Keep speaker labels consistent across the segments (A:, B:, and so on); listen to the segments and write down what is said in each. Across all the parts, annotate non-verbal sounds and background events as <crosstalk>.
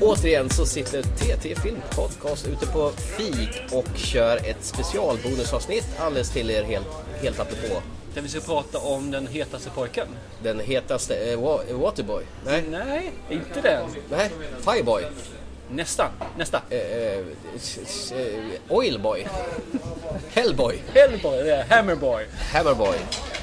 A: Återigen så sitter TT Film Podcast ute på fik och kör ett specialbonusavsnitt alldeles till er helt, helt apropå.
B: Där vi ska prata om den hetaste pojken.
A: Den hetaste, eh, Wa- Waterboy? Nej,
B: Nej, inte den.
A: nej, Fireboy?
B: Nästa, nästa.
A: Eh, eh, s- s- eh, Oilboy? Hellboy?
B: Hellboy, det är Hammerboy.
A: Hammerboy?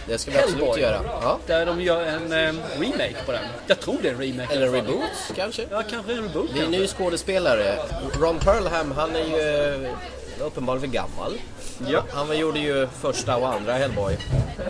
A: Det ska vi absolut
B: Hellboy.
A: göra. Ja.
B: Där de gör en em, remake på den. Jag tror det är en remake.
A: Eller en reboot kanske?
B: Ja, kanske en reboot
A: Det är en
B: kanske.
A: ny skådespelare. Ron Perlham, han är ju eh, uppenbarligen gammal.
B: Ja.
A: Han gjorde ju första och andra Hellboy.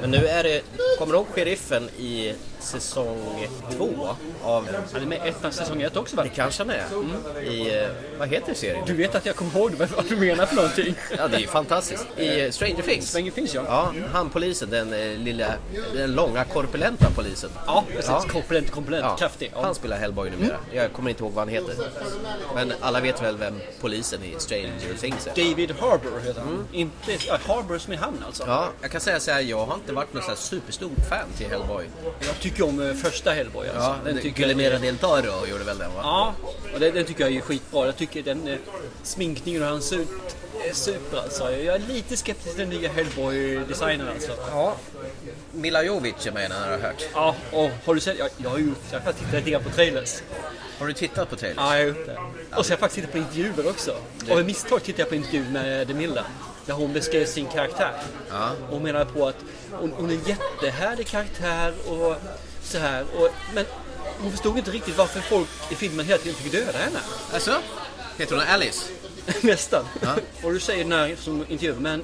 A: Men nu är det, kommer du ihåg sheriffen i säsong två av...
B: Han är med i ettan säsong ett också va?
A: Det kanske han är. I, eh, vad heter serien?
B: Du vet att jag kommer ihåg vad vad du menar för någonting.
A: Ja, det är ju fantastiskt. I eh, Stranger Things.
B: Svängen finns ja.
A: Ja, han polisen, den eh, lilla, den långa korpulenta polisen.
B: Ja, precis.
A: Ja.
B: Komponent, komponent,
A: Ja,
B: kraftig. Ja.
A: Han spelar Hellboy numera. Jag kommer inte ihåg vad han heter. Men alla vet väl vem polisen i Stranger Things är.
B: David Harbour heter han. Inte, ja, Harbour som är hamn alltså.
A: Mm. Ja, jag kan säga så här, jag har inte varit någon så här superstor fan till Hellboy.
B: Jag tycker om eh, första Hellboy alltså.
A: Ja, den
B: tycker jag är-
A: Guillermo del Toro gjorde väl den va?
B: Ja, och den, den tycker jag är skitbra. Jag tycker den eh, sminkningen och han ser ut är super alltså. Jag är lite skeptisk till den nya Hellboy-designen alltså.
A: Ja. Mila Jovic är med i den här, har jag hört.
B: Ja, och har du sett? Jag, jag har ju jag har faktiskt tittat lite grann på trailers.
A: Har du tittat på trailern?
B: Ja, jag har gjort det. Och så har jag faktiskt tittat på intervjuer också. Av ett misstag tittade jag på intervju med DeMille. Där hon beskrev sin karaktär.
A: Ja.
B: Och Hon menade på att hon, hon är en jättehärlig karaktär och så här. Och, men hon förstod inte riktigt varför folk i filmen hela tiden fick döda henne.
A: Alltså? Heter hon Alice?
B: <laughs> Nästan.
A: Ja.
B: Och du säger den här som intervjuar, men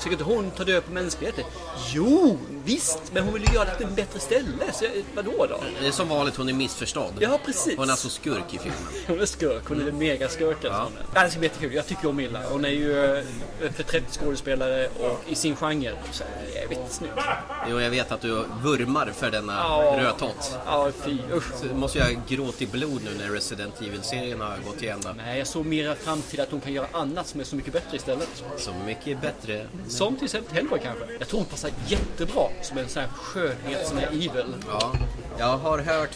B: tycker inte hon tar död på mänskligheten? Jo, visst, men hon vill ju göra det till ett bättre ställe. Så jag- vadå då?
A: Det är som vanligt, hon är missförstådd.
B: Ja, precis.
A: Hon är alltså skurk i filmen.
B: <laughs> Hon är skurk, hon är en megaskurk.
A: Ja.
B: Ja. Ja, det ska bli jättekul, jag tycker om Illa. Hon är ju eh, förträfflig skådespelare och i sin genre. Så eh, jävligt snygg.
A: Jo, jag vet att du vurmar för denna
B: Ja.
A: rödtott.
B: Ja, fy usch.
A: Så måste jag gråta i blod nu när Resident Evil-serien har gått till ända.
B: Nej, jag såg mera fram till att hon kan göra annat som är så mycket bättre istället.
A: Så mycket bättre.
B: Som till exempel Hellboy kanske. Jag tror hon passar jättebra som en sån här skönhet som är evil.
A: Ja, jag har hört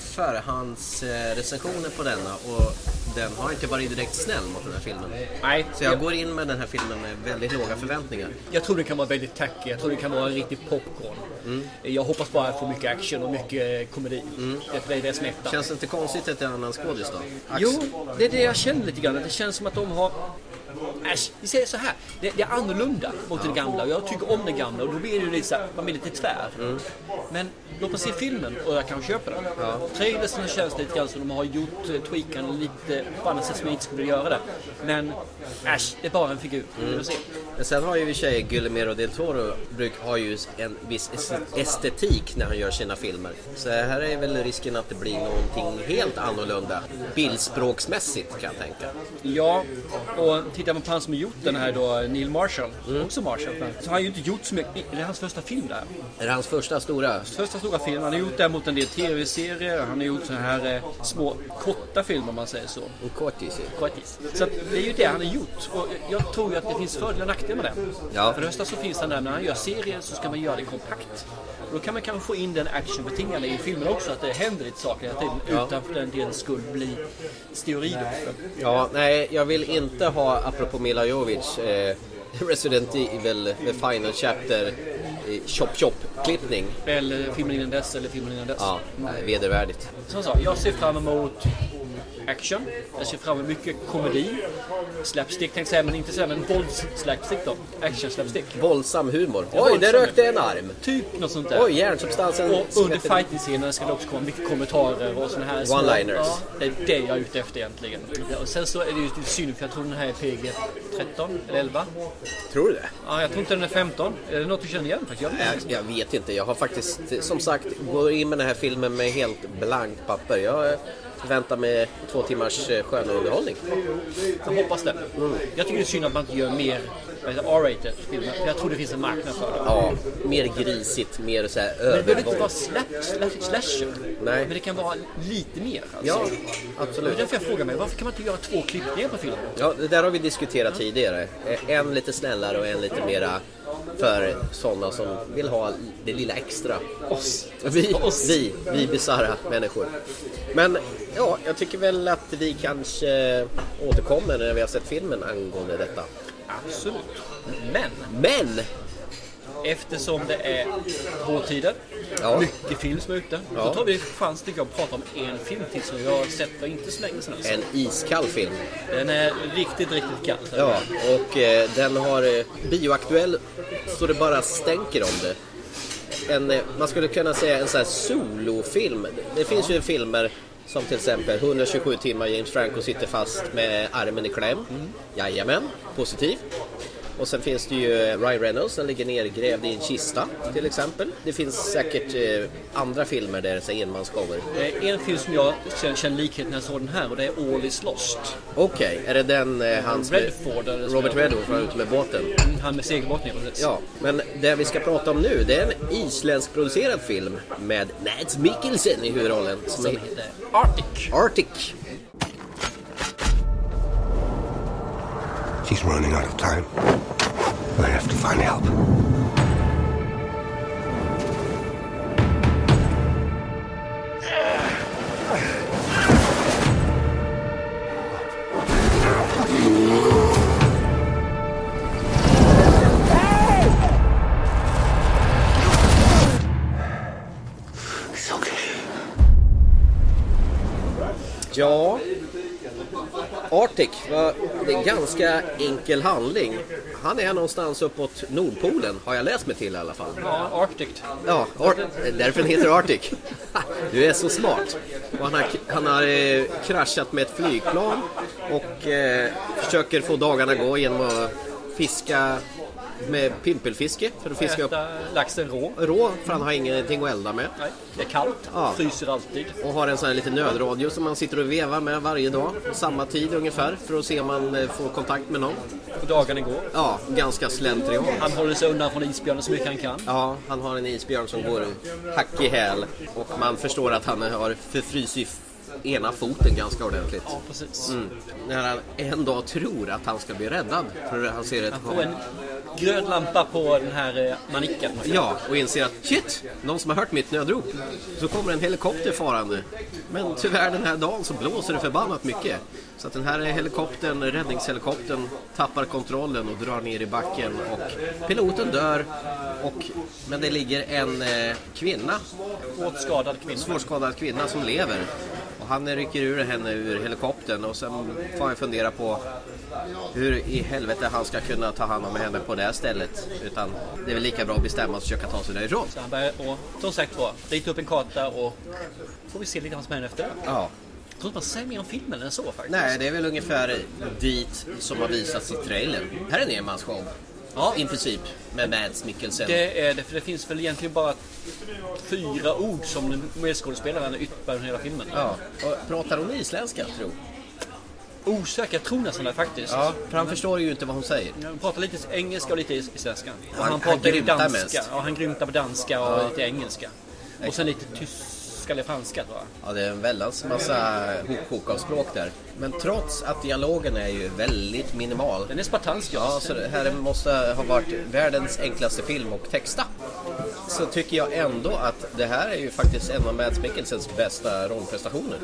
A: förhandsrecensioner på denna och den har inte varit direkt snäll mot den här filmen.
B: Nej,
A: Så jag går in med den här filmen med väldigt låga förväntningar.
B: Jag tror det kan vara väldigt tacky. Jag tror det kan vara en riktig popcorn. Jag hoppas bara få mycket action och mycket eh, komedi. Det är det som är ettan.
A: Känns det inte konstigt att det är en annan skådis då? Ax-
B: Jo, det är det jag känner lite grann. Det känns som att de har... Äsch, vi säger så här. Det, det är annorlunda mot det gamla. Och jag tycker om det gamla och då blir det ju lite så här, man blir lite tvär. Men låt oss se filmen och jag kan köpa den. Trailersen känns lite grann som de har gjort eh, tweakan lite på annat sätt som jag inte skulle vilja göra det. Men äsch, det är bara en figur. Vi får se.
A: Men sen har ju i och för sig Guillermo del Toro bruk, har ju en viss es- estetik när han gör sina filmer. Så här är väl risken att det blir någonting helt annorlunda. Bildspråksmässigt kan jag tänka.
B: Ja, och tittar man på han som har gjort den här då, Neil Marshall, också Marshall, men så har han ju inte gjort så mycket, det är hans första film där.
A: Är det hans första stora?
B: Första stora film, han har gjort däremot en del tv-serier, han har gjort så här eh, små korta filmer om man säger så.
A: En kortis.
B: Kortis. Så att det är ju det han har gjort och jag tror ju att det finns fördelar och nackdelar med det.
A: Ja.
B: För det första så finns han där, när han gör serier så ska man göra det kompakt. Och då kan man kanske få in den actionbetingande i filmen också, att det händer lite saker hela tiden utan för den delen skulle bli steroider.
A: Ja, nej, jag vill inte ha, apropå Mila Jovic, eh, <laughs> Resident Evil, The Final Chapter, eh, chop chop-klippning.
B: Eller filmen innan dess, eller filmen innan dess.
A: Ja, nej, vedervärdigt.
B: Som jag sa, jag ser fram emot action. Jag ser fram emot mycket komedi. Slapstick tänkte jag säga, men inte sådär, men vålds-slapstick då. Action-slapstick.
A: Våldsam humor.
B: Ja,
A: Oj, där
B: våldsam
A: rökte en arm!
B: Typ något sånt där.
A: Oj, järnsubstansen...
B: Och under fighting-scenen ska det också komma mycket kommentarer och sådana här små-
A: One-liners.
B: Ja, det är det jag är ute efter egentligen. Ja, Och sen så är det ju lite synd för jag tror den här är PG-13 eller 11.
A: Tror du det? Eh,
B: Ja, jag tror inte den är 15. Är det något du känner igen faktiskt? Jag vet inte.
A: Jag, jag vet inte. Jag har faktiskt, som sagt, går in med den här filmen med helt blankt papper. Jag eh, förväntar mig två timmars eh, skönunderhållning.
B: Jag hoppas det.
A: Mm.
B: Jag tycker det är synd att man inte gör mer vad heter det, R-rated filmer. för Jag tror det finns en marknad för det.
A: Ja, mer grisigt, mer så här
B: Men det behöver inte
A: övergång.
B: vara slap, slap, slasher.
A: Nej.
B: Men det kan vara lite mer. Alltså.
A: Ja,
B: Det är
A: absolut.
B: därför jag frågar mig, varför kan man inte göra två klippningar på filmen?
A: Ja, det där har vi diskuterat tidigare. Eh, En lite snällare och en lite mera för sådana som vill ha det lilla extra.
B: Oss.
A: Vi,
B: Oss.
A: vi, vi bisarra människor. Men ja, jag tycker väl att vi kanske återkommer när vi har sett filmen angående detta.
B: Absolut. Men
A: Men!
B: eftersom det är vårtider,
A: Ja.
B: mycket film som är ute.
A: Ja.
B: Då tar vi chans tycker jag att prata om en film till som jag har sett för inte så länge sedan. alltså.
A: En iskall film.
B: Den är riktigt, riktigt kall.
A: Ja, och eh, den har eh, bioaktuell så det bara stänker om det. En, eh, man skulle kunna säga en sån här solofilm. Det finns ju filmer som till exempel 127 timmar James Franco sitter fast med armen i kläm. Jajamän, positiv. Och sen finns det ju eh, Ryan Reynolds, den ligger nergrävd i en kista till exempel. Det finns säkert eh, andra filmer där det är så här enmansshower.
B: Det är Eh, en film som jag känner, känner likhet när jag såg den här och det är All is lost.
A: Okej, är det den eh, han som-
B: Redford, eller som
A: Robert
B: jag-
A: Redford var ute med båten?
B: Mm, Han med segelbåten ja, precis.
A: Ja, men det vi ska prata om nu det är en isländsk producerad film med Mads Mikkelsen i huvudrollen som
B: Som
A: är
B: heter Arctic.
A: Arctic.
C: She's running out of time. I have to find help. It's okay.
A: Ja, Arctic, va, det är en ganska enkel handling. Han är någonstans uppåt Nordpolen, har jag läst mig till i alla fall.
B: Ja, Arctic.
A: Ja, Ar- därför den heter Arctic. Ha, Du är så smart. Och han har, han har eh, kraschat med ett flygplan och eh, försöker få dagarna gå genom att fiska med pimpelfiske för att fiska upp
B: Äta laxen rå.
A: rå, för han har ingenting att elda med.
B: Nej, det är kallt.
A: Ja.
B: Fryser alltid.
A: Och har en sån här liten nödradio som man sitter och vevar med varje dag, samma tid ungefär, för att se om man eh, får kontakt med någon.
B: Och dagarna går.
A: Ja, ganska slentrian.
B: Han håller sig undan från isbjörnen så mycket han kan.
A: Ja, han har en isbjörn som går hack i häl och man förstår att han har förfrysit ena foten ganska ordentligt.
B: Ja, precis.
A: Mm. När han en dag tror att han ska bli räddad för han ser ett
B: Får en grön lampa på den här eh, manicken.
A: Ja, och inser att shit, någon som har hört mitt nödrop. Så kommer en helikopter farande. Men tyvärr den här dagen så blåser det förbannat mycket. Så att den här helikoptern, räddningshelikoptern, tappar kontrollen och drar ner i backen och piloten dör. Och, men det ligger en eh, kvinna
B: Svårt skadad kvinna.
A: svårskadad kvinna som lever. Och han rycker ur henne ur helikoptern och sen får han fundera på hur i helvete han ska kunna ta hand om henne på det här stället. Utan det är väl lika bra att bestämma sig och försöka ta sig därifrån.
B: Så han börjar och, som sagt var, rita upp en karta och får vi se lite vad som händer efter det.
A: Ja.
B: Jag tror inte man säger mer om filmen än så faktiskt.
A: Nej, det är väl ungefär dit som har visats i trailern. Här är en enmansshow.
B: Ja.
A: I princip. Med Mads Mikkelsen.
B: Det är det, för det finns väl egentligen bara fyra ord som den medskådespelaren yppar under hela filmen.
A: Ja. Och pratar hon isländska, tro?
B: Osäker, jag tror nästan det faktiskt.
A: För han förstår ju inte vad hon säger.
B: Han pratar lite engelska och lite isländska. Och
A: han-
B: han pratar
A: han
B: ju
A: grymtar
B: danska.
A: mest.
B: Ja, han grymtar på danska och lite engelska. Och sen lite tyska eller franska tror jag.
A: Ja, det är en väldans massa hopkok av språk där. Men trots att dialogen är ju väldigt minimal.
B: Den är spartansk
A: Ja, så det här måste ha varit världens enklaste film och texta. Så tycker jag ändå att det här är ju faktiskt en av Mads Mikkelsens bästa rollprestationer.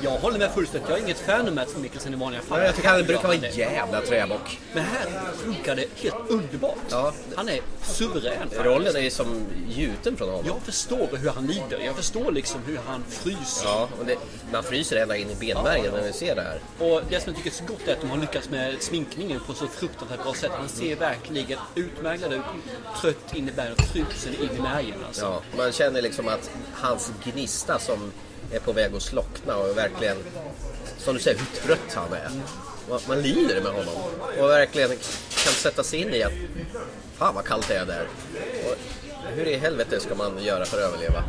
B: Jag håller med fullständigt. Jag är inget fan av Mats Mikkelsen i vanliga fall.
A: Jag tycker han brukar vara en
B: det.
A: jävla träbock.
B: Men här funkar det helt underbart.
A: Ja.
B: Han är suverän.
A: Rollen är ju som gjuten från honom.
B: Jag förstår hur han lider. Jag förstår liksom hur han fryser.
A: Ja, och det, man fryser ända in i benmärgen när vi ser det här.
B: Och det som jag tycker är så gott är att de har lyckats med sminkningen på så fruktansvärt bra sätt. Han ser verkligen utmärglad ut. Trött in i bergen och frusen in i märgen alltså.
A: Ja, man känner liksom att hans gnista som är på väg att slockna och verkligen, som du säger, hur trött han är. Man, man lider med honom och verkligen kan sätta sig in i att fan vad kallt det är där. Och hur i helvete ska man göra för att överleva?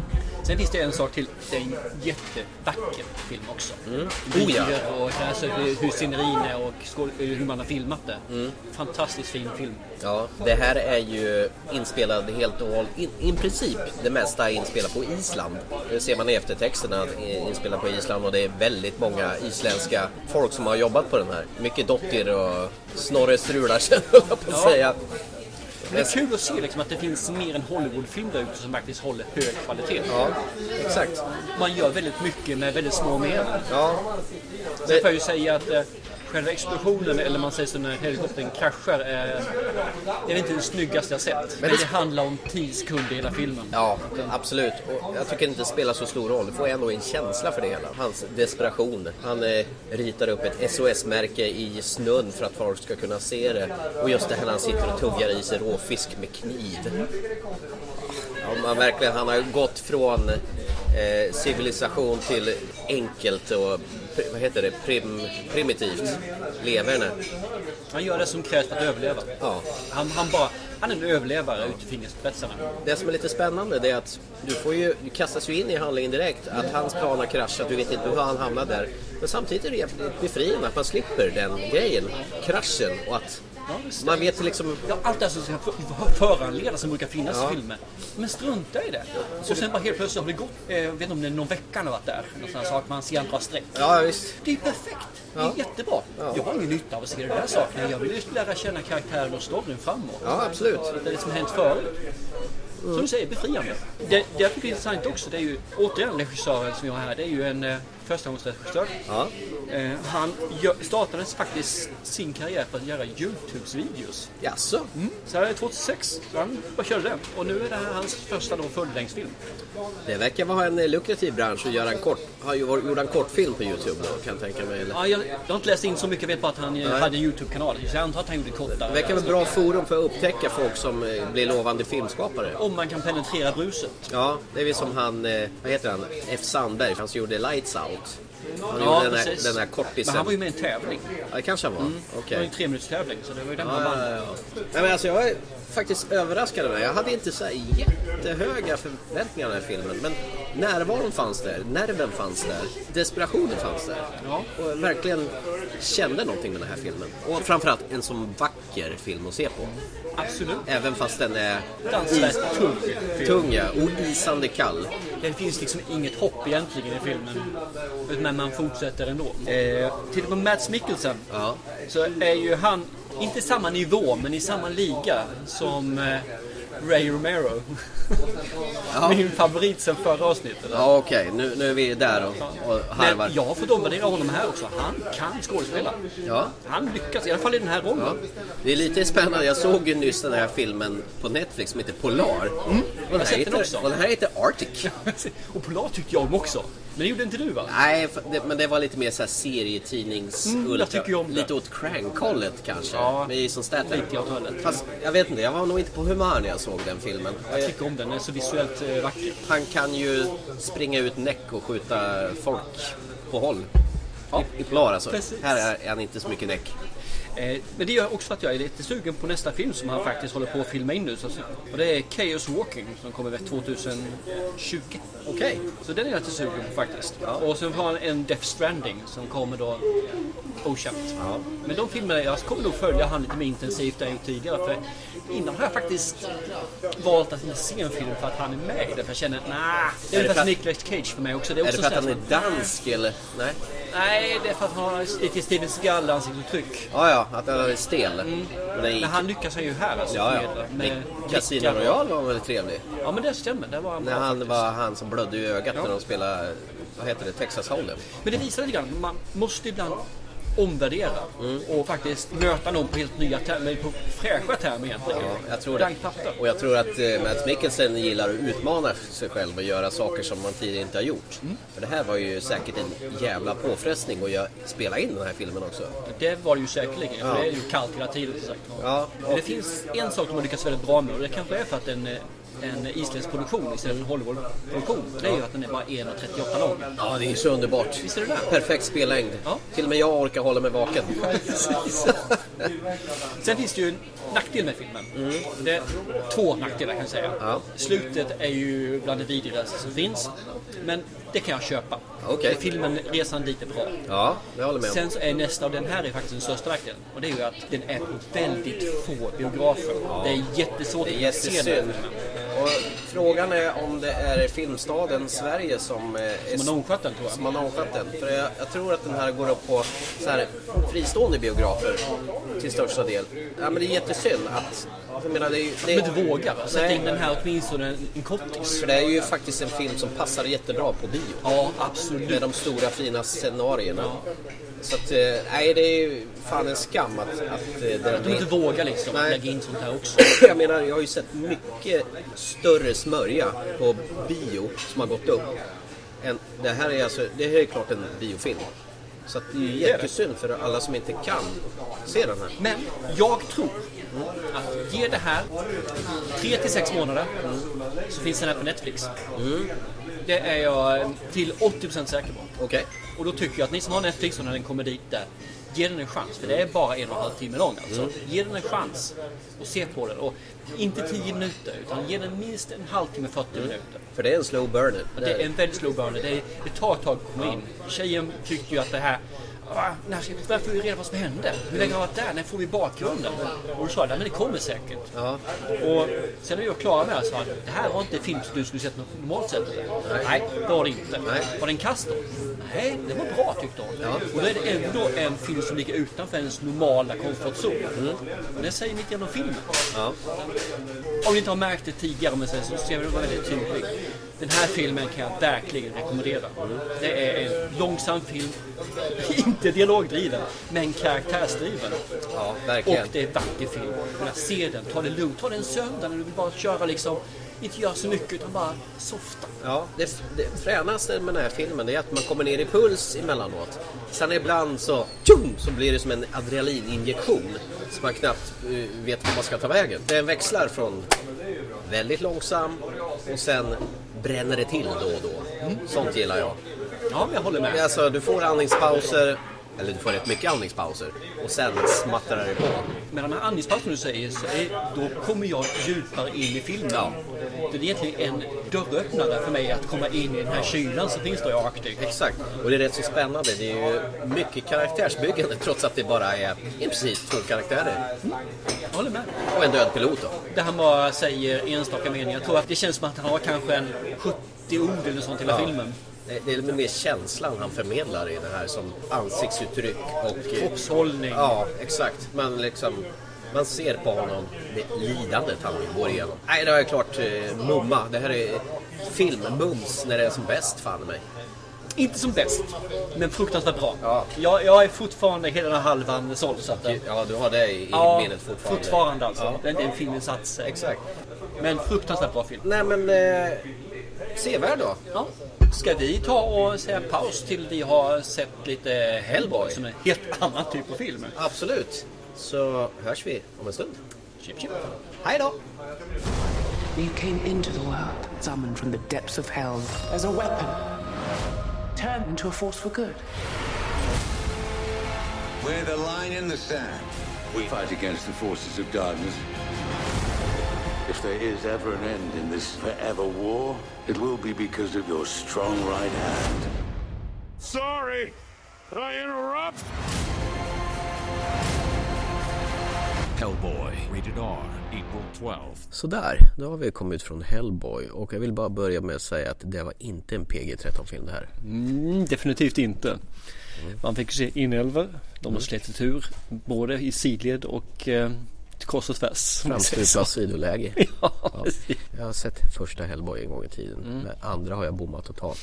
B: Sen finns det en sak till. Det är en jättevacker film också. Mm.
A: Oh ja.
B: och alltså, hur hur scenerin är och skål- hur man har filmat det.
A: Mm.
B: Fantastiskt fin film.
A: Ja, det här är ju inspelat helt och hållet, i i princip det mesta är inspelat på Island. Det ser man i eftertexterna, att det är inspelat på Island och det är väldigt många isländska folk som <laughs> har jobbat på den här. Mycket Dotter och Snorre Strularsen höll jag på att
B: Ja.
A: säga.
B: Men det är kul att se liksom, att det finns mer än Hollywoodfilm där ute som faktiskt håller hög kvalitet.
A: Ja, exakt.
B: Man gör väldigt mycket med väldigt små medel.
A: Ja,
B: Sen får jag ju säga att eh, själva explosionen, eller man säger så när helikoptern kraschar, eh, det är inte det snyggaste jag sett. Men det, handlar om 10 sekunder i hela filmen.
A: ja absolut. Och jag tycker inte det spelar så stor roll. Du får ändå en känsla för det hela. Hans desperation. Han eh, ritar upp ett SOS-märke i snön för att folk ska kunna se det. Och just det här när han sitter och tuggar i sig råfisk med kniv. Ja, man verkligen, han har ju gått från eh, civilisation till enkelt och pri- vad heter det, Prim, primitivt leverne.
B: Han gör det som krävs för att överleva.
A: Ja.
B: Han, han, bara, han är en överlevare ut i fingerspetsarna.
A: Det som är lite spännande det är att du, får ju, du kastas ju in i handlingen direkt. Att hans plan har kraschat, du vet inte hur han hamnade där. Men samtidigt är det jävligt befriande att man slipper den grejen, kraschen. Och att
B: visst.
A: man vet liksom,
B: Ja, allt det här som ska för- föranleda som brukar finnas
A: Ja.
B: i filmer. Men strunta i det. Och sen bara helt plötsligt har det gått, eh, jag vet inte om det är någon vecka han har varit där. Någon sån här sak, man ser han dra streck.
A: ja visst.
B: Det är perfekt. Det är jättebra. Jag har ingen nytta av att se den där saken. Jag vill ju lära känna karaktären och storyn framåt.
A: Ja, absolut.
B: Det är det som har hänt förut. Som du säger, befriande. Det, det jag tycker är intressant också, det är ju återigen regissören som jag har här. Det är ju en eh, förstagångsregissör.
A: Ja.
B: Eh, han gör, startade faktiskt sin karriär på att göra Youtube-videos.
A: Jaså?
B: Så här är 2006, så han bara körde det. Och nu är det här hans första då fullängdsfilm.
A: Det verkar vara en eh, lukrativ bransch att göra en kort, har ju varit- gjorde en kortfilm på Youtube då kan jag tänka mig. Eller?
B: Ja, jag, jag har inte läst in så mycket, jag vet bara att han eh, hade en Youtube-kanal. Så jag antar att han gjorde kortare.
A: Det verkar vara ett bra forum för att upptäcka folk som eh, blir lovande filmskapare.
B: Om man kan penetrera bruset.
A: Ja, det är väl som han, eh, vad heter han, F Sandberg, han som gjorde Lights Out. Han
B: Ja,
A: gjorde den här,
B: precis.
A: den här
B: Men
A: kortisen.
B: han var ju med i en tävling.
A: Ja, det kanske han var.
B: Det var ju
A: Okej.
B: en treminuterstävling, så det var ju den
A: Ja,
B: han vann.
A: ja, ja. Nej, men alltså, jag är faktiskt överraskad av den. här. Jag hade inte så här jättehöga förväntningar av den här filmen. Men närvaron fanns där, nerven fanns där, desperationen fanns där.
B: Ja.
A: Och jag verkligen kände någonting med den här filmen. Och framförallt en sån vacker film att se på.
B: Absolut.
A: Även fast den är
B: Fruktansvärt tung. film.
A: tung ja, och isande kall.
B: Det finns liksom inget hopp egentligen i filmen. Men man fortsätter ändå. Eh, Tittar på Mats Mikkelsen.
A: Ja.
B: Så är ju han, inte samma nivå, men i samma liga som eh, Ray <laughs> Romero. Min favorit sen förra avsnittet.
A: Ja, okej. Nu, nu är vi där och, och harvar.
B: Men jag har fått omvärdera honom här också. Han kan skådespela.
A: Ja.
B: Han lyckas, i alla fall i den här rollen.
A: Ja. Det är lite spännande. Jag såg ju nyss den här filmen på Netflix som heter Polar. Och, den
B: Mm. sett
A: här
B: den
A: heter,
B: också.
A: och den här heter Arctic.
B: <laughs> och Polar tyckte jag om också. Men det gjorde inte du va?
A: Nej, f- det, men det var lite mer så här serietidnings...
B: Mm, jag
A: ultra-
B: tycker ju om det.
A: Lite åt crank-hållet kanske.
B: Ja.
A: Med Jason Statham.
B: Lite åt hållet.
A: Fast jag vet inte, jag var nog inte på humör när jag såg den filmen. Eh,
B: Jag tycker om den, den är så visuellt eh, vacker.
A: Han kan ju springa ut näck och skjuta folk på håll.
B: Ja.
A: I, I Polar alltså.
B: Precis.
A: Här är han inte så mycket näck.
B: Eh, Men det gör också att jag är lite sugen på nästa film som han faktiskt håller på att filma in nu. Så att säga. Och det är Chaos Walking som kommer väl 2020.
A: Okej.
B: Så den är jag lite sugen på faktiskt. Och sen har han en Death Stranding som kommer då okänt. Men de filmerna, jag kommer nog följa han lite mer intensivt än jag gjort tidigare. För innan har jag faktiskt valt att inte se en film för att han är med i den. För jag känner, nah, det är
A: för
B: ungefär som
A: att-
B: Nicolas Cage för mig också. Det är,
A: Är
B: också
A: det för att
B: sån
A: han
B: här
A: är dansk eller? Nej.
B: som- Nej, det är för att han har lite Steven Seagal ansiktsuttryck.
A: Ja, ja, att han är stel. Men den gick
B: Men han lyckas han ju Mm. här alltså.
A: Ja, ja.
B: förmedla
A: Men Casino
B: blickar och-
A: Royale var väl trevlig?
B: Ja, men det stämmer. Det var han
A: När
B: bra
A: han
B: faktiskt.
A: var han som blödde i ögat när de spelade, vad heter det, Texas Hold'em.
B: Men det visar lite grann. Man måste ibland omvärdera
A: Mm.
B: och faktiskt möta någon på helt nya termer, på fräscha termer egentligen.
A: Ja, jag tror det.
B: Blankt papper.
A: Och jag tror att eh, Mads Mikkelsen gillar att utmana sig själv och göra saker som man tidigare inte har gjort. För det här var ju säkert en jävla påfrestning att gö- spela in den här filmen också.
B: Det var det ju säkerligen, för det är ju kallt hela tiden. som sagt.
A: Ja.
B: Men det finns en sak de har lyckats väldigt bra med och det kanske är för att en, eh, en isländsk produktion istället för
A: Mm.
B: en Hollywood-produktion, det är ju att den är bara 1,38 lång.
A: Ja, det är ju så underbart.
B: Visst är det det?
A: Perfekt spellängd.
B: Ja.
A: Till och med jag orkar hålla mig vaken. <laughs>
B: Sen finns det ju en nackdel med filmen. Det är två nackdelar kan jag säga.
A: Mm. Ja.
B: Slutet är ju bland det vidrigaste som finns. Men det kan jag köpa.
A: Okej.
B: Filmen, resan dit är bra.
A: ja, det håller jag med om.
B: Sen så är nästa, och den här är faktiskt den största nackdelen. Och det är ju att den är på väldigt få biografer. Det är jättesvårt
A: Det är
B: att se den.
A: jättesynd. Och frågan är om det är filmstaden Sverige som, eh, är,
B: Man har omskött den tror jag.
A: som har nonchatat den. För jag, jag tror att den här går upp på så här, fristående biografer till största del. Ja, men det är jättesynd att... Jag menar, det är, ju- det,
B: Men inte vågar. Sätt
A: Nej.
B: in den här åtminstone en, en kortis.
A: För det är ju faktiskt en film som passar jättebra på bio.
B: Ja, absolut.
A: Med de stora fina scenarierna. Så att, eh, nej det är ju fan en skam att, att eh, den
B: De inte vågar liksom
A: Nej.
B: lägga in sånt här också.
A: jag menar, jag har ju sett mycket större smörja på bio som har gått upp. Än, det, här är alltså, det här är klart en biofilm. Så att det är ju jättesynd för alla som inte kan se den här.
B: Men jag tror att ge det här 3 till 6 månader så finns den här på Netflix. Det är jag till 80% säker på.
A: Okej.
B: Och då tycker jag att ni som har Netflix och när den kommer dit där, ge den en chans. För det är bara en och en halv timme lång alltså. Ge den en chans och se på den. Och inte 10 minuter utan ge den minst en halvtimme, 40 minuter.
A: För det är en slow burner.
B: Det är en väldigt slow burner. Det, är, det tar ett tag att komma in. Tjejen tyckte ju att det här... "Ah, När ska, när får vi reda på vad som hände? Hur länge har jag varit där? När får vi bakgrunden? Och då sa jag, "Nej, men det kommer säkert.
A: Ja.
B: Och sen är jag klar med det sa han, det här var inte en film som du skulle sett normalt sett. Nej, det var det inte. Var den kass då? Nej, det var bra tyckte hon. Och då är det ändå en film som ligger utanför ens normala komfortzon. Och det säger mitt genom filmen.
A: Ja.
B: Om ni inte har märkt det tidigare, men sen så ser vi det vara väldigt tydligt. Den här filmen kan jag verkligen rekommendera. Det är en långsam film, <laughs> inte dialogdriven, men karaktärsdriven.
A: Ja,
B: Och
A: verkligen.
B: det är en vacker film. Men jag ser den, ta det lugnt, ta den söndag när du vill bara köra liksom, inte göra så mycket utan bara softa.
A: Ja, det, det fränaste med den här filmen det är att man kommer ner i puls emellanåt. Sen ibland så, tjum, så blir det som en adrenalininjektion. Så man knappt eh, vet vad man ska ta vägen. Den växlar från väldigt långsam och sen bränner det till då och då. Sånt gillar jag.
B: Ja, men jag håller med.
A: Alltså, du får andningspauser, eller du får rätt mycket andningspauser. Och sen smattrar det på.
B: Med de här andningspauserna du säger så är, då kommer jag djupare in i filmen. Det är egentligen en dörröppnare för mig att komma in i den här kylan som finns då i Arctic.
A: Exakt, och det är rätt så spännande. Det är ju mycket karaktärsbyggande trots att det bara är i princip två karaktärer.
B: Jag håller med.
A: Och en död pilot då.
B: Där han bara säger enstaka meningar. Jag tror att det känns som att han har kanske en 70 ord eller sånt i hela
A: Ja.
B: filmen.
A: Det- Det är väl mer känslan han förmedlar i det här som ansiktsuttryck och... eh,
B: Kroppshållning.
A: Ja, exakt. Man liksom... Man ser på honom det lidandet han går igenom. Nej, det är klart eh, mumma. Det här är filmmums när det är som bäst, fan i mig.
B: Inte som bäst, men fruktansvärt bra.
A: Ja.
B: Jag, jag är fortfarande hela den här halvan såld. Så att, eh,
A: Ja, du har det i, i
B: ja,
A: minnet fortfarande.
B: fortfarande alltså.
A: Ja,
B: Det är inte en filminsats. eh,
A: exakt.
B: Men fruktansvärt bra film.
A: Nej, men... Eh, sevärd då.
B: Ja. Ska vi ta och säga paus till vi har sett lite Hellboy som är en helt annan typ av film?
A: Absolut. Så hörs vi om en stund.
B: Chip, chip.
A: Hej då!
D: You came into the world, summoned from the depths of hell, as a weapon, turned into a force for good.
E: We're the line in the sand. We fight against the forces of darkness. If there is ever an end in this forever war, it will be because of your strong right hand.
F: Sorry, Did I interrupt.
G: Hellboy. Rated R. April 12th.
A: Sådär, då har vi kommit ut från Hellboy och jag vill bara börja med att säga att det var inte en PG-13-film det här.
B: Mm, definitivt inte. Man fick se inälvor. De har slitit ur både i sidled och eh, kors och tvärs. om man säger så. <laughs>
A: Framstupa sidoläge.
B: Ja,
A: Jag har sett första Hellboy en gång i tiden,
B: Mm.
A: men andra har jag bommat totalt.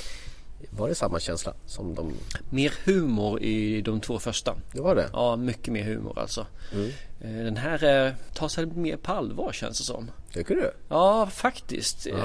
A: Var det samma känsla som de...
B: <laughs> Mer humor i de två första.
A: Det var det?
B: Ja, mycket mer humor alltså. Eh, Den här eh, tar sig mer på allvar känns det som.
A: Tycker du?
B: Ja, faktiskt. Eh,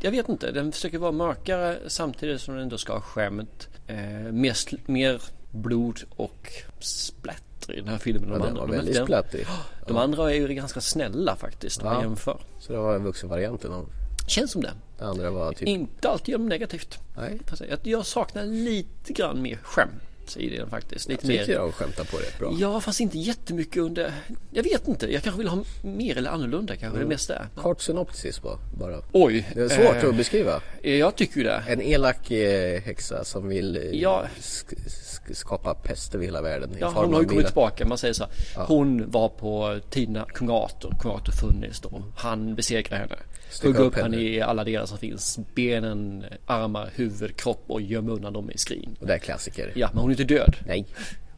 B: Jag vet inte. Den försöker vara mörkare samtidigt som den ändå ska ha skämt. Eh, mer, sl- mer blod och splatter i den här filmen. än
A: Ja,
B: de
A: den
B: andra.
A: var
B: De är
A: väldigt
B: inte-
A: splattig.
B: De andra är ju ganska snälla faktiskt, om man
A: Ja.
B: jämför.
A: Så det var vuxenvarianten och
B: Känns som det.
A: det andra var typ...
B: Inte alltid genom negativt.
A: Nej.
B: Fast Jag, jag saknar lite grann mer skämt i den faktiskt. Lite mer...
A: Tycker jag de skämtar på rätt bra.
B: Ja, fast inte jättemycket under... Jag vet inte. Jag kanske vill ha mer eller annorlunda kanske det mesta är.
A: Kort synopsis bara. bara.
B: Oj.
A: Mm. Det är svårt
B: eh,
A: att beskriva.
B: Jag tycker ju det.
A: En elak eh, häxa som vill eh,
B: Ja.
A: sk- sk- skapa pest över hela världen i
B: Ja,
A: form
B: hon har
A: av
B: ju kommit
A: bilar.
B: tillbaka. Man säger så här, Hon var på tiden kung Arthur. Kung Arthur funnits då. Han besegrar henne.
A: Stycka
B: Hugg upp
A: upp henne.
B: henne i alla delar som finns. Benen, armar, huvud, kropp och göm undan dem i skrin.
A: Och det är klassiker.
B: Ja, men hon är inte död.
A: Nej,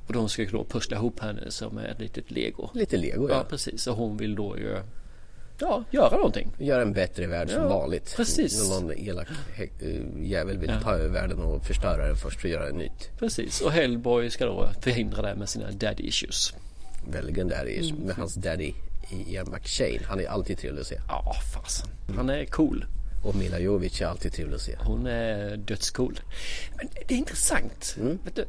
B: Och de ska ju då pussla ihop henne som ett litet lego.
A: lite lego
B: Ja,
A: ja.
B: precis. Och hon vill då ju ja, göra någonting.
A: Gör en bättre värld som
B: Ja,
A: vanligt.
B: precis.
A: När någon elak hä- eh, jävel vill ta över världen och förstöra den först och göra en nytt.
B: Precis. Och Hellboy ska då förhindra det med sina daddy issues.
A: Belgien där är
B: Mm.
A: ju- med hans daddy Ian McShane. Han är alltid trevlig att se.
B: Ja, fasen. Han är cool.
A: Och Mila Jovic är alltid trevlig att se.
B: Hon är dödscool. Men det är intressant. Vet du,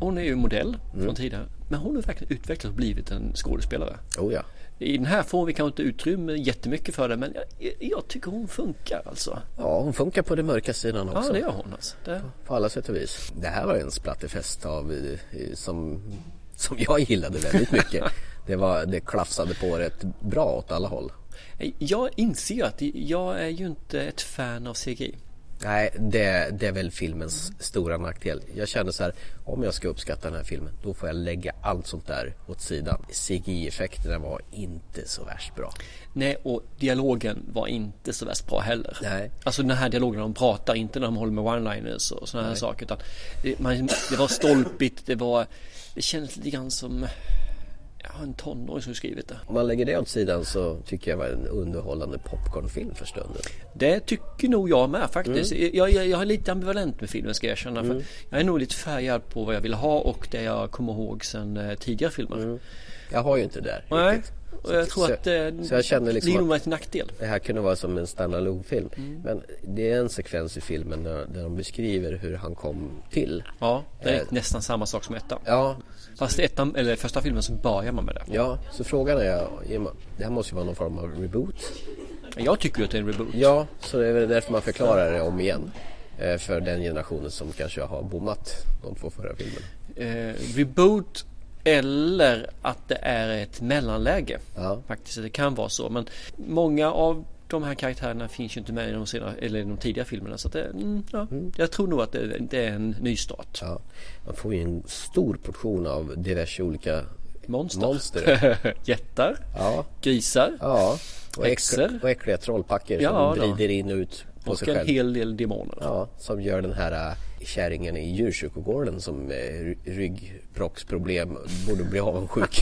B: hon är ju modell från tidigare. Men hon har verkligen utvecklats och blivit en skådespelare.
A: Oh ja.
B: I den här får vi kanske inte utrymme jättemycket för det. Men jag, jag tycker hon funkar alltså.
A: Ja, hon funkar på den mörka sidan också.
B: Ja, det gör hon alltså. Det,
A: På alla sätt och vis. Det här var en splatterfest av, eh, eh, som, som jag gillade väldigt
B: <laughs>
A: mycket. det, var, det klafsade på rätt bra åt alla håll.
B: jag inser ju att jag är ju inte ett fan av CGI.
A: Nej, det, det är väl filmens stora nackdel. Jag känner så här, om jag ska uppskatta den här filmen då får jag lägga allt sånt där åt sidan. CGI-effekterna var inte så värst bra.
B: Nej, och dialogen var inte så värst bra heller.
A: Nej.
B: Alltså den här dialogen när de pratar, inte när de håller med one-liners och sådana här saker. Utan det, man, det var stolpigt, det var... Det kändes lite grann som... Ja, en tonåring som skrivit det.
A: Om man lägger det åt sidan så tycker jag det var en underhållande popcornfilm för stunden.
B: Det tycker nog jag med faktiskt.
A: Mm.
B: Jag, jag, jag är lite ambivalent med filmen ska jag erkänna. För Jag är nog lite färgad på vad jag vill ha och det jag kommer ihåg sedan eh, tidigare filmer.
A: Jag har ju inte det där
B: Nej,
A: riktigt.
B: och jag tror
A: Mm. så-
B: att eh,
A: så jag känner liksom
B: det är
A: att-
B: nog till nackdel.
A: Det här kunde vara som en standalone film Men det är en sekvens i filmen där, där de beskriver hur han kom till.
B: Ja, det är
A: Eh.
B: nästan samma sak som ettan.
A: Ja,
B: Fast ettan, eller första filmen så börjar man med det.
A: ja så frågan är, det här måste ju vara någon form av reboot.
B: Jag tycker ju att det är en reboot.
A: Ja, så det är väl därför man förklarar det om igen. Eh, För den generationen som kanske har bommat de två förra filmerna.
B: Eh, reboot eller att det är ett mellanläge.
A: Ja.
B: Faktiskt, det kan vara så. Men många av de här karaktärerna finns ju inte med i de, senare, eller i de tidiga filmerna. Så att det, mm, ja. Jag tror nog att det, det är en nystart.
A: Ja. Man får ju en stor portion av diverse olika
B: Monster.
A: monster.
B: <laughs> Jättar,
A: Ja,
B: grisar
A: ja. Och, äck-
B: Häxor.
A: och äckliga trollpacker
B: Ja,
A: som
B: då.
A: vrider in och ut på
B: och
A: sig
B: en
A: själv.
B: hel del demoner.
A: Ja, som gör den här äh, kärringen i djurkyrkogården som eh, ry- ryggprocksproblem borde bli
B: <laughs>
A: avundsjuk.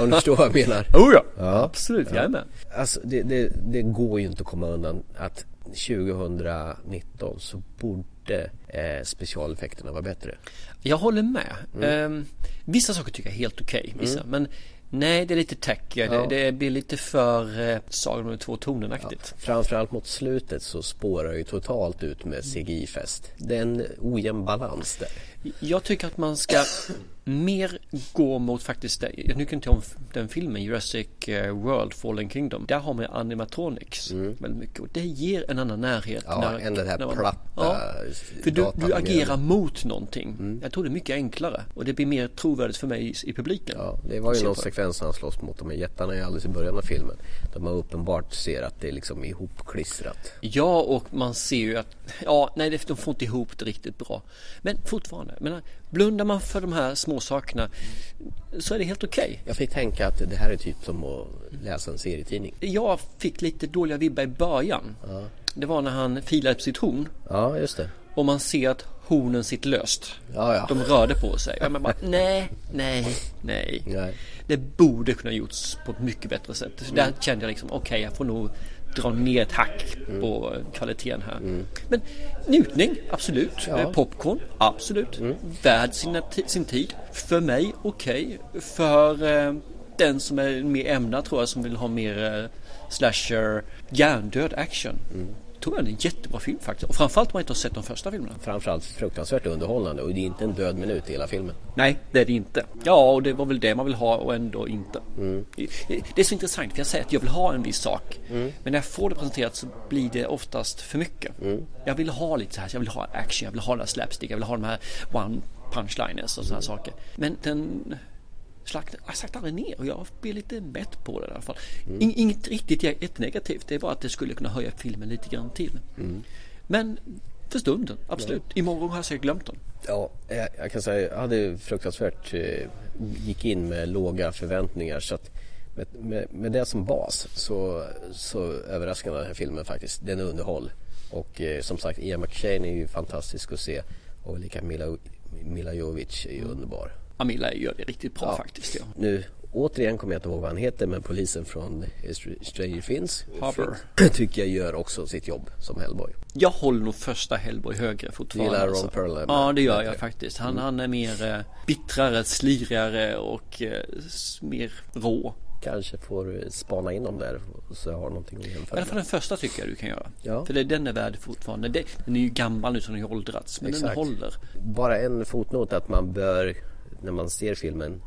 A: Om du förstår vad jag menar.
B: Oh ja. absolut. Ja. Jajamän.
A: Alltså det, det, det går ju inte att komma undan att 2019 så borde eh, specialeffekterna vara bättre.
B: Jag håller med.
A: Mm.
B: Ehm, vissa saker tycker jag är helt okej. vissa. Men nej, det är lite tacky.
A: Ja.
B: Det, det blir lite för eh, Sagan om de två tonen-aktigt.
A: Framförallt mot slutet så spårar ju totalt ut med CGI-fest. Det är en ojämn balans där.
B: Jag tycker att man ska mer gå mot faktiskt, det- jag tycker inte om den filmen Jurassic eh, World Fallen Kingdom. Där har man ju animatronics väldigt mycket och det ger en annan närhet.
A: Mm. Ja, än den här
B: man-
A: platta
B: För du, du
A: datan-
B: agerar mot någonting.
A: Mm.
B: Jag tror det är mycket enklare och det blir mer trovärdigt för mig i, i publiken.
A: Ja, det var ju
B: Se
A: någon
B: på
A: sekvens när han slåss mot de här jättarna i alldeles i början av filmen. Där man uppenbart ser att det är liksom ihopklistrat.
B: Ja, och man ser ju att ja, nej, det- de får inte ihop det riktigt bra. Men fortfarande, jag menar, blundar man för de här små sakerna så är det helt okej.
A: Jag fick tänka att det här är typ som att läsa en serietidning.
B: Jag fick lite dåliga vibbar i början. Det var när han filade på sitt horn
A: Ja, just det.
B: och man ser att hornen sitter löst.
A: Ja, ja.
B: De rörde på sig. Och Man bara, nej, nej, nej,
A: Nej.
B: Det borde kunna gjorts på ett mycket bättre sätt. Så Där kände jag liksom, okej, jag får nog dra ner ett hack på kvaliteten här. Men njutning, absolut. Eh, Popcorn, absolut. Värd sina ti- sin tid. För mig, okej. För eh, den som är mer ämnad tror jag, som vill ha mer eh, slasher, hjärndöd action. Tror jag är en jättebra film faktiskt. Och framförallt om man inte har sett de första filmerna.
A: Framförallt fruktansvärt underhållande och det är inte en död minut i hela filmen.
B: Nej, det är det inte. Ja, och det var väl det man vill ha och ändå inte. Det är så intressant, för jag säger att jag vill ha en viss sak. Men när jag får det presenterat så blir det oftast för mycket. Jag vill ha lite så här, jag vill ha action, jag vill ha den här slapstick, jag vill ha de här one punchliners och sådana saker. Men den slakt, jag slaktar aldrig ner och jag blir lite mätt på det i alla fall. In, inget riktigt jättenegativt, det är bara att det skulle kunna höja filmen lite grann till. Men För stunden, absolut. Imorgon har jag säkert glömt den.
A: Ja, jag, jag kan säga jag hade fruktansvärt, eh, gick in med låga förväntningar så att med, med, med det som bas så, så överraskar den här filmen faktiskt. Den är underhåll. Och eh, som sagt Ian McShane är ju fantastisk att se och lika Mila, Mila Jovic är ju underbar.
B: Amila gör det riktigt bra faktiskt. Ja.
A: Nu återigen kommer jag inte ihåg vad han heter men polisen från Str- Stranger Things
B: Harper.
A: <clears throat> tycker jag gör också sitt jobb som Hellboy.
B: Jag håller nog första Hellboy högre fortfarande.
A: Du gillar Ron
B: alltså.
A: Perlman? Mm.
B: Ja, det gör jag faktiskt. Han, han är mer eh, bittrare, slirigare och eh, s- mer rå.
A: Kanske får eh, spana in dem där och så jag har någonting att
B: I
A: jämföra
B: alla
A: med.
B: fall den första tycker jag du kan göra.
A: Ja.
B: För det, den är värd fortfarande. Det, den är ju gammal nu så den har ju åldrats. Men
A: Exakt.
B: den håller.
A: Bara en fotnot att man bör, när man ser filmen,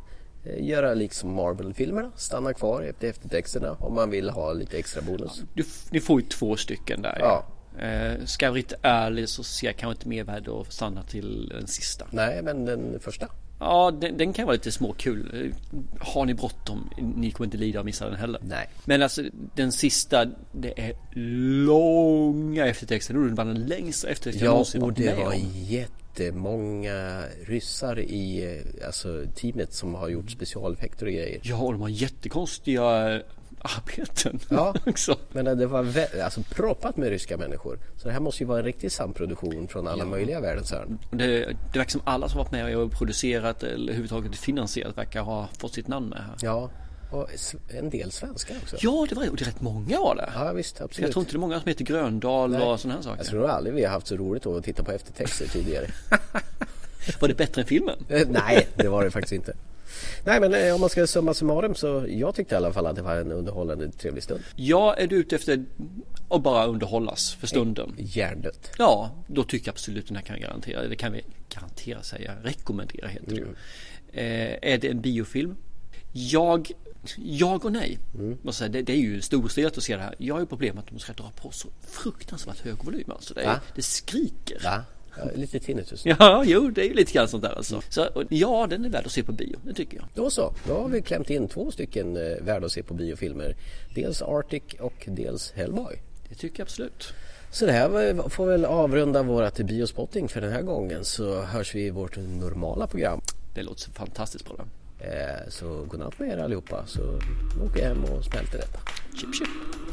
A: eh, göra liksom Marvel-filmerna. Stanna kvar efter eftertexterna om man vill ha lite extra bonus.
B: Du, f- ni får ju två stycken där.
A: Ja.
B: Eh, ska jag vara riktigt ärlig så ser jag kanske inte mer värde att stanna till den sista.
A: Nej, men den första.
B: Ja, den, den kan vara lite småkul. Har ni bråttom, ni kommer inte lida av att missa den heller.
A: Nej.
B: Men alltså den sista, det är långa eftertexter. Det är nog bland den längsta eftertexten jag
A: Ja,
B: någonsin
A: och
B: varit
A: det
B: med
A: var
B: om.
A: jättemånga ryssar i eh, alltså, teamet som har gjort specialeffekter och grejer.
B: Ja, och de har jättekonstiga eh, arbeten
A: Ja.
B: <laughs> också.
A: Men eh, det var vä- alltså, proppat med ryska människor. Så det här måste ju vara en riktig samproduktion från alla möjliga världens hörn.
B: Och Det, det verkar som alla som varit med och producerat eller överhuvudtaget finansierat verkar ha fått sitt namn med här.
A: Ja, och s- en del svenskar också.
B: Ja, det var och det är rätt många var det.
A: Ja, visst, absolut.
B: Jag tror inte det är många som heter Gröndal
A: Nej.
B: och sådana här saker.
A: Jag tror aldrig vi har haft så roligt att titta på eftertexter tidigare. <laughs>
B: Var det bättre än filmen?
A: Eh, Nej, det var det faktiskt inte. Nej men eh, om man ska summa summarum så jag tyckte i alla fall att det var en underhållande trevlig stund.
B: Ja, är du ute efter att bara underhållas för stunden?
A: Hjärndött.
B: Ja, då tycker jag absolut den här kan jag garantera. Eller kan vi garantera säga, rekommendera heter det ju. eh, Är det en biofilm? Jag, jag och nej.
A: Mm.
B: Måste säga, det, det är ju storstilat att se det här. Jag har ju problem med att de ska dra på så fruktansvärt hög volym. Alltså, det, är,
A: Va?
B: det skriker.
A: Va? Ja, lite tinnitus.
B: Ja, jo, det är ju lite grann sånt där alltså. Så, och ja, den är värd att se på bio, det tycker jag.
A: Då så, då har vi klämt in två stycken eh, värda att se på biofilmer. Dels Arctic och dels Hellboy.
B: Det tycker jag absolut.
A: Så det här var- får väl avrunda vårat biospotting för den här gången så hörs vi i vårt normala program.
B: Det låter så fantastiskt bra.
A: Eh, Så godnatt med er allihopa så åker jag hem och smälter detta.
B: Chip, chip.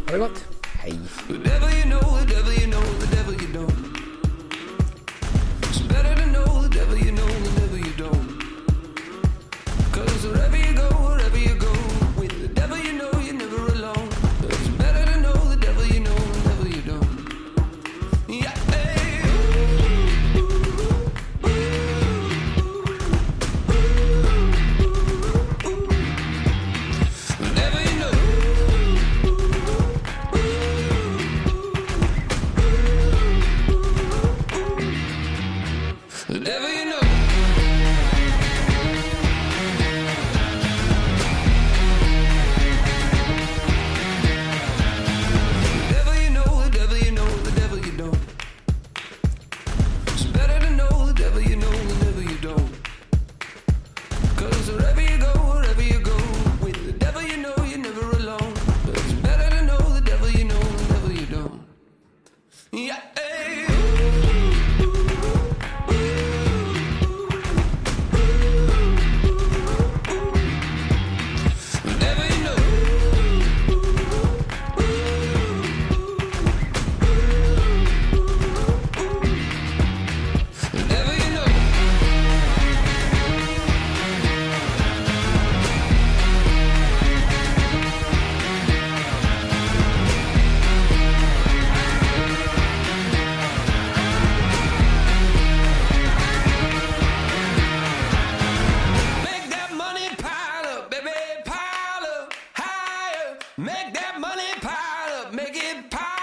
A: Ha det gott! Hej!
H: The devil you know, the devil you know, the devil you don't. It's better to know the devil you know, the devil you don't. Cause wherever you go, wherever you go, with the devil you know you're never alone. It's better to know the devil you know, the devil you don't. Yeah, hey. The devil you know. The devil you know. The devil you know, the devil you know, the devil you don't. It's better to know the devil you know, the devil you don't. Cause wherever you go, wherever you go, with the devil you know you're never alone. But it's better to know the devil you know, the devil you don't. Yeah. eh. Never you know. Never you know. Make that money pile up, baby, pile up higher. Make that money pile up, make it pile